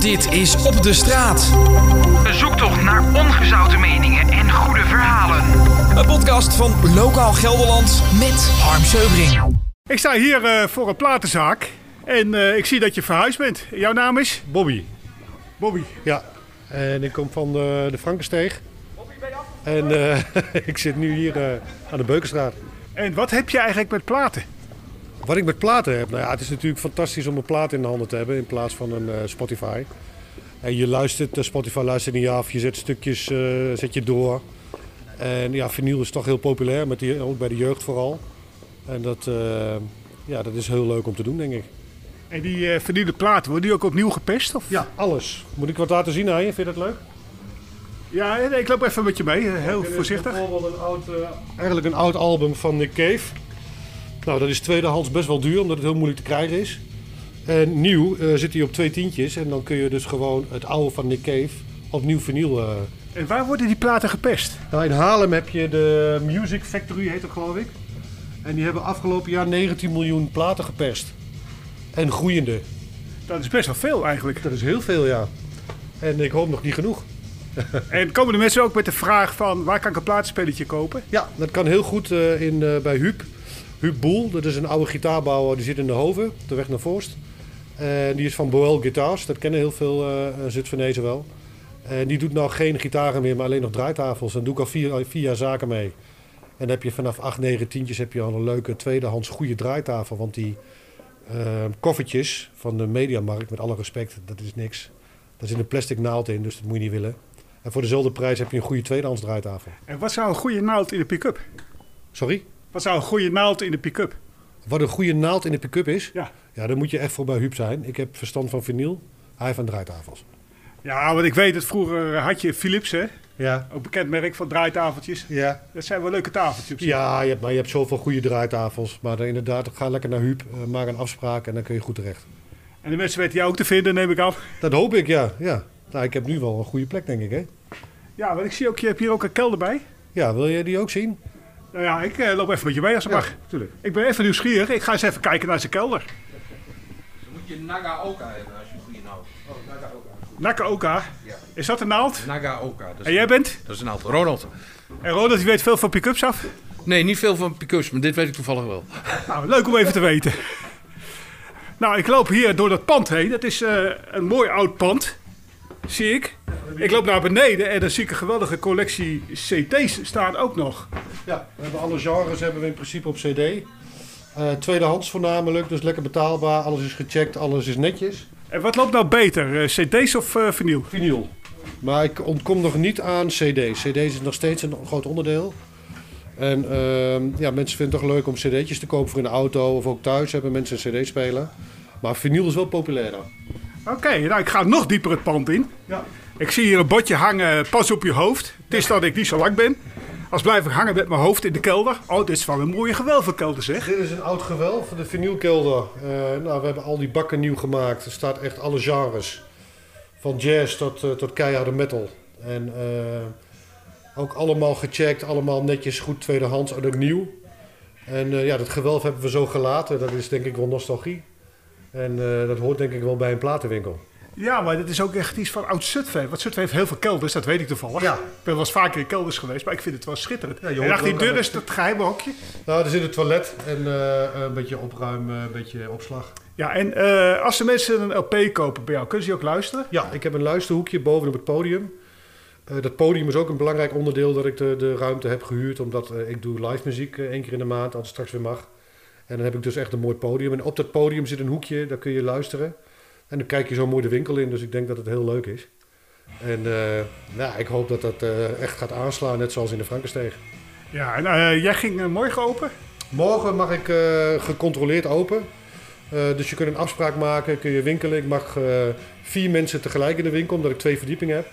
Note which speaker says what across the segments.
Speaker 1: Dit is Op de Straat.
Speaker 2: Een zoektocht naar ongezouten meningen en goede verhalen.
Speaker 1: Een podcast van Lokaal Gelderland met Harm Seubring.
Speaker 3: Ik sta hier eh, voor een platenzaak en eh, ik zie dat je verhuisd bent. Jouw naam is?
Speaker 4: Bobby.
Speaker 3: Bobby.
Speaker 4: Ja, en ik kom van de, de Frankensteeg. En eh, ik zit nu hier eh, aan de Beukenstraat.
Speaker 3: En wat heb je eigenlijk met platen?
Speaker 4: Wat ik met platen heb, nou ja, het is natuurlijk fantastisch om een plaat in de handen te hebben in plaats van een eh, Spotify. En je luistert, eh, Spotify luistert niet af, je zet stukjes eh, zet je door. En ja, vinyl is toch heel populair, met die, ook bij de jeugd vooral. En dat, eh, ja, dat is heel leuk om te doen, denk ik.
Speaker 3: En die eh vernieuwde platen, worden die ook opnieuw gepest? Of?
Speaker 4: Ja, alles. Moet ik wat laten zien aan je? Vind je dat leuk?
Speaker 3: Ja, eh, nee, ik loop even met je mee, eh, heel
Speaker 4: Dit is
Speaker 3: voorzichtig.
Speaker 4: Bijvoorbeeld een oud, eh, eigenlijk een oud album van Nick Cave. Nou, dat is tweedehands best wel duur, omdat het heel moeilijk te krijgen is. En nieuw eh, zit hij op twee tientjes. En dan kun je dus gewoon het oude van Nick Cave opnieuw vernieuwen.
Speaker 3: En waar worden die platen gepest?
Speaker 4: Nou, in Haarlem heb je de Music Factory, heet dat geloof ik. En die hebben afgelopen jaar 19 miljoen platen geperst. En groeiende.
Speaker 3: Dat is best wel veel eigenlijk.
Speaker 4: Dat is heel veel, ja. En ik hoop nog niet genoeg.
Speaker 3: En komen de mensen ook met de vraag van waar kan ik een plaatspelletje kopen?
Speaker 4: Ja, dat kan heel goed eh, in, eh, bij Huub. Huub Boel, dat is een oude gitaarbouwer, die zit in de Hoven, op de weg naar Voorst. En die is van Boel Guitars, dat kennen heel veel eh Zutphenezen wel. En die doet nou geen gitaren meer, maar alleen nog draaitafels. En doe ik al vier, vier jaar zaken mee. En dan heb je vanaf 8, 9 tientjes heb je al een leuke tweedehands goede draaitafel. Want die eh, koffertjes van de mediamarkt, met alle respect, dat is niks. Daar zit een plastic naald in, dus dat moet je niet willen. En voor dezelfde prijs heb je een goede tweedehands draaitafel.
Speaker 3: En wat zou een goede naald in de pick-up?
Speaker 4: Sorry?
Speaker 3: Wat zou een goede naald in de pick-up?
Speaker 4: Wat een goede naald in de pick-up is?
Speaker 3: Ja.
Speaker 4: Ja, daar moet je echt voor bij Huub zijn. Ik heb verstand van vinyl, hij van draaitafels.
Speaker 3: ja, want ik weet dat vroeger eh, had je Philips, hè?
Speaker 4: Ja.
Speaker 3: Ook bekend merk van draaitafeltjes.
Speaker 4: Ja.
Speaker 3: Dat zijn wel leuke tafeltjes. op zich.
Speaker 4: Ja, je hebt, maar je hebt zoveel goede draaitafels. Maar dan inderdaad, ga lekker naar Huub, eh, maak een afspraak en dan kun je goed terecht.
Speaker 3: En de mensen weten jou ook te vinden, neem ik aan.
Speaker 4: Dat hoop ik, ja. ja. Nou, ik heb nu wel een goede plek, denk ik, hè?
Speaker 3: Ja, want ik zie ook, je hebt hier ook een kelder bij.
Speaker 4: Ja, wil jij die ook zien?
Speaker 3: Nou ja, ik eh, loop even met je mee als het mag.
Speaker 4: tuurlijk.
Speaker 3: Ik ben even nieuwsgierig. Ik ga eens even kijken naar zijn kelder.
Speaker 5: Dan moet je Nagaoka hebben als je een goede naald hebt.
Speaker 3: Nakaoka.
Speaker 5: Ja.
Speaker 3: Is dat een naald?
Speaker 5: Nagaoka, dat
Speaker 3: En
Speaker 5: is,
Speaker 3: jij bent?
Speaker 5: dat is een naald. Ronald.
Speaker 3: En Ronald, die weet veel van pick-ups af.
Speaker 5: Nee, niet veel van Picus, maar dit weet ik toevallig wel.
Speaker 3: Nou, leuk om even te weten. Nou, ik loop hier door dat pand heen. Dat is eh, een mooi oud pand, zie ik. Ik loop naar beneden en dan zie ik een geweldige collectie CT's staan ook nog.
Speaker 4: Ja, we hebben alle genres hebben we in principe op CD. Eh, tweedehands voornamelijk, dus lekker betaalbaar. Alles is gecheckt, alles is netjes.
Speaker 3: En wat loopt nou beter, eh, CT's of eh vinyl?
Speaker 4: vinyl. Maar ik ontkom nog niet aan CD's. CD's is nog steeds een groot onderdeel. En ehm, ja, mensen vinden het toch leuk om CD'tjes te kopen voor in de auto of ook thuis hebben mensen een CD-speler. Maar vinyl is wel populairder.
Speaker 3: Oké, nou ik ga nog dieper het pand in. Ik zie hier een bordje hangen, eh, pas op je hoofd. Het is dat ik niet zo lang ben. Als blijf ik hangen met mijn hoofd in de kelder. Oh, dit is wel een mooie gewelvenkelder zeg.
Speaker 4: Dit is een oud gewelf van de vinylkelder. Eh, nou, we hebben al die bakken nieuw gemaakt. Er staat echt alle genres. Van jazz tot, eh, tot keiharde metal. En eh, ook allemaal gecheckt, allemaal netjes goed tweedehands en ook nieuw. En eh, ja, dat gewelf hebben we zo gelaten. Dat is denk ik wel nostalgie. En eh, dat hoort denk ik wel bij een platenwinkel.
Speaker 3: Ja, maar dit is ook echt iets van oud Zutphen. Want Zutphen heeft heel veel kelders, dat weet ik toevallig.
Speaker 4: Ja.
Speaker 3: Ik ben wel eens vaker in kelders geweest, maar ik vind het wel schitterend.
Speaker 4: je
Speaker 3: en
Speaker 4: hoort
Speaker 3: achter die
Speaker 4: ook
Speaker 3: deur
Speaker 4: aan
Speaker 3: is dat geheime hokje.
Speaker 4: Nou, er zit een toilet en eh, een beetje opruimen, een beetje opslag.
Speaker 3: Ja, en eh, als de mensen een LP kopen bij jou, kunnen ze die ook luisteren?
Speaker 4: Ja, ik heb een luisterhoekje bovenop het podium. Eh, dat podium is ook een belangrijk onderdeel dat ik de, de ruimte heb gehuurd. Omdat eh, ik doe live muziek eh, één keer in de maand, als het straks weer mag. En dan heb ik dus echt een mooi podium. En op dat podium zit een hoekje, daar kun je luisteren. En dan kijk je zo mooi de winkel in, dus ik denk dat het heel leuk is. En eh, nou, ik hoop dat dat eh, echt gaat aanslaan, net zoals in de Frankensteeg.
Speaker 3: Ja, en eh, jij ging eh, morgen open.
Speaker 4: Morgen mag ik eh, gecontroleerd open. Eh, dus je kunt een afspraak maken, kun je winkelen. Ik mag eh, vier mensen tegelijk in de winkel, omdat ik twee verdiepingen heb.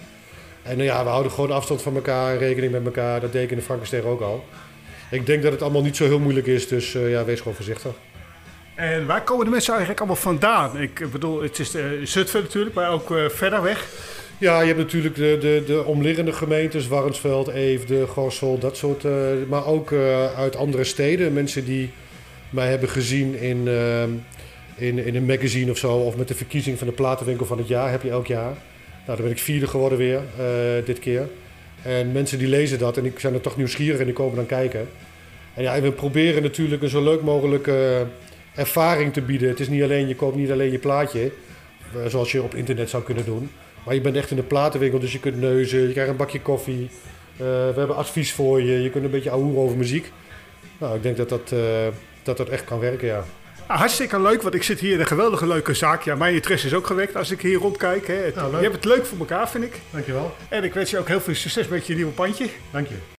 Speaker 4: En nou ja, we houden gewoon afstand van elkaar, rekening met elkaar. Dat deed ik in de Frankenstein ook al. Ik denk dat het allemaal niet zo heel moeilijk is, dus eh, ja, wees gewoon voorzichtig.
Speaker 3: En waar komen de mensen eigenlijk allemaal vandaan? Ik eh, bedoel, het is eh, Zutphen natuurlijk, maar ook eh, verder weg.
Speaker 4: Ja, je hebt natuurlijk de, de, de omliggende gemeentes, Warnsveld, Eefde, Gorssel, dat soort. eh, maar ook eh, uit andere steden. Mensen die mij hebben gezien in, ehm, in, in een magazine of zo. Of met de verkiezing van de platenwinkel van het jaar heb je elk jaar. Nou, dan ben ik vierde geworden weer eh, dit keer. En mensen die lezen dat en die zijn er toch nieuwsgierig en die komen dan kijken. En ja, en we proberen natuurlijk een zo leuk mogelijke eh, ervaring te bieden. Het is niet alleen, je koopt niet alleen je plaatje, eh, zoals je op internet zou kunnen doen. Maar je bent echt in de platenwinkel, dus je kunt neuzen, je krijgt een bakje koffie. Eh, we hebben advies voor je, je kunt een beetje ouwe over muziek. Nou, ik denk dat dat, eh, dat, dat echt kan werken, ja.
Speaker 3: Ah, hartstikke leuk, want ik zit hier in een geweldige leuke zaak. Ja, mijn interesse is ook gewekt als ik hier rondkijk. Hè. Het-
Speaker 4: Nou,
Speaker 3: je
Speaker 4: leuk.
Speaker 3: hebt het leuk voor elkaar, vind ik.
Speaker 4: Dankjewel.
Speaker 3: En ik wens je ook heel veel succes met je nieuwe pandje.
Speaker 4: Dank je.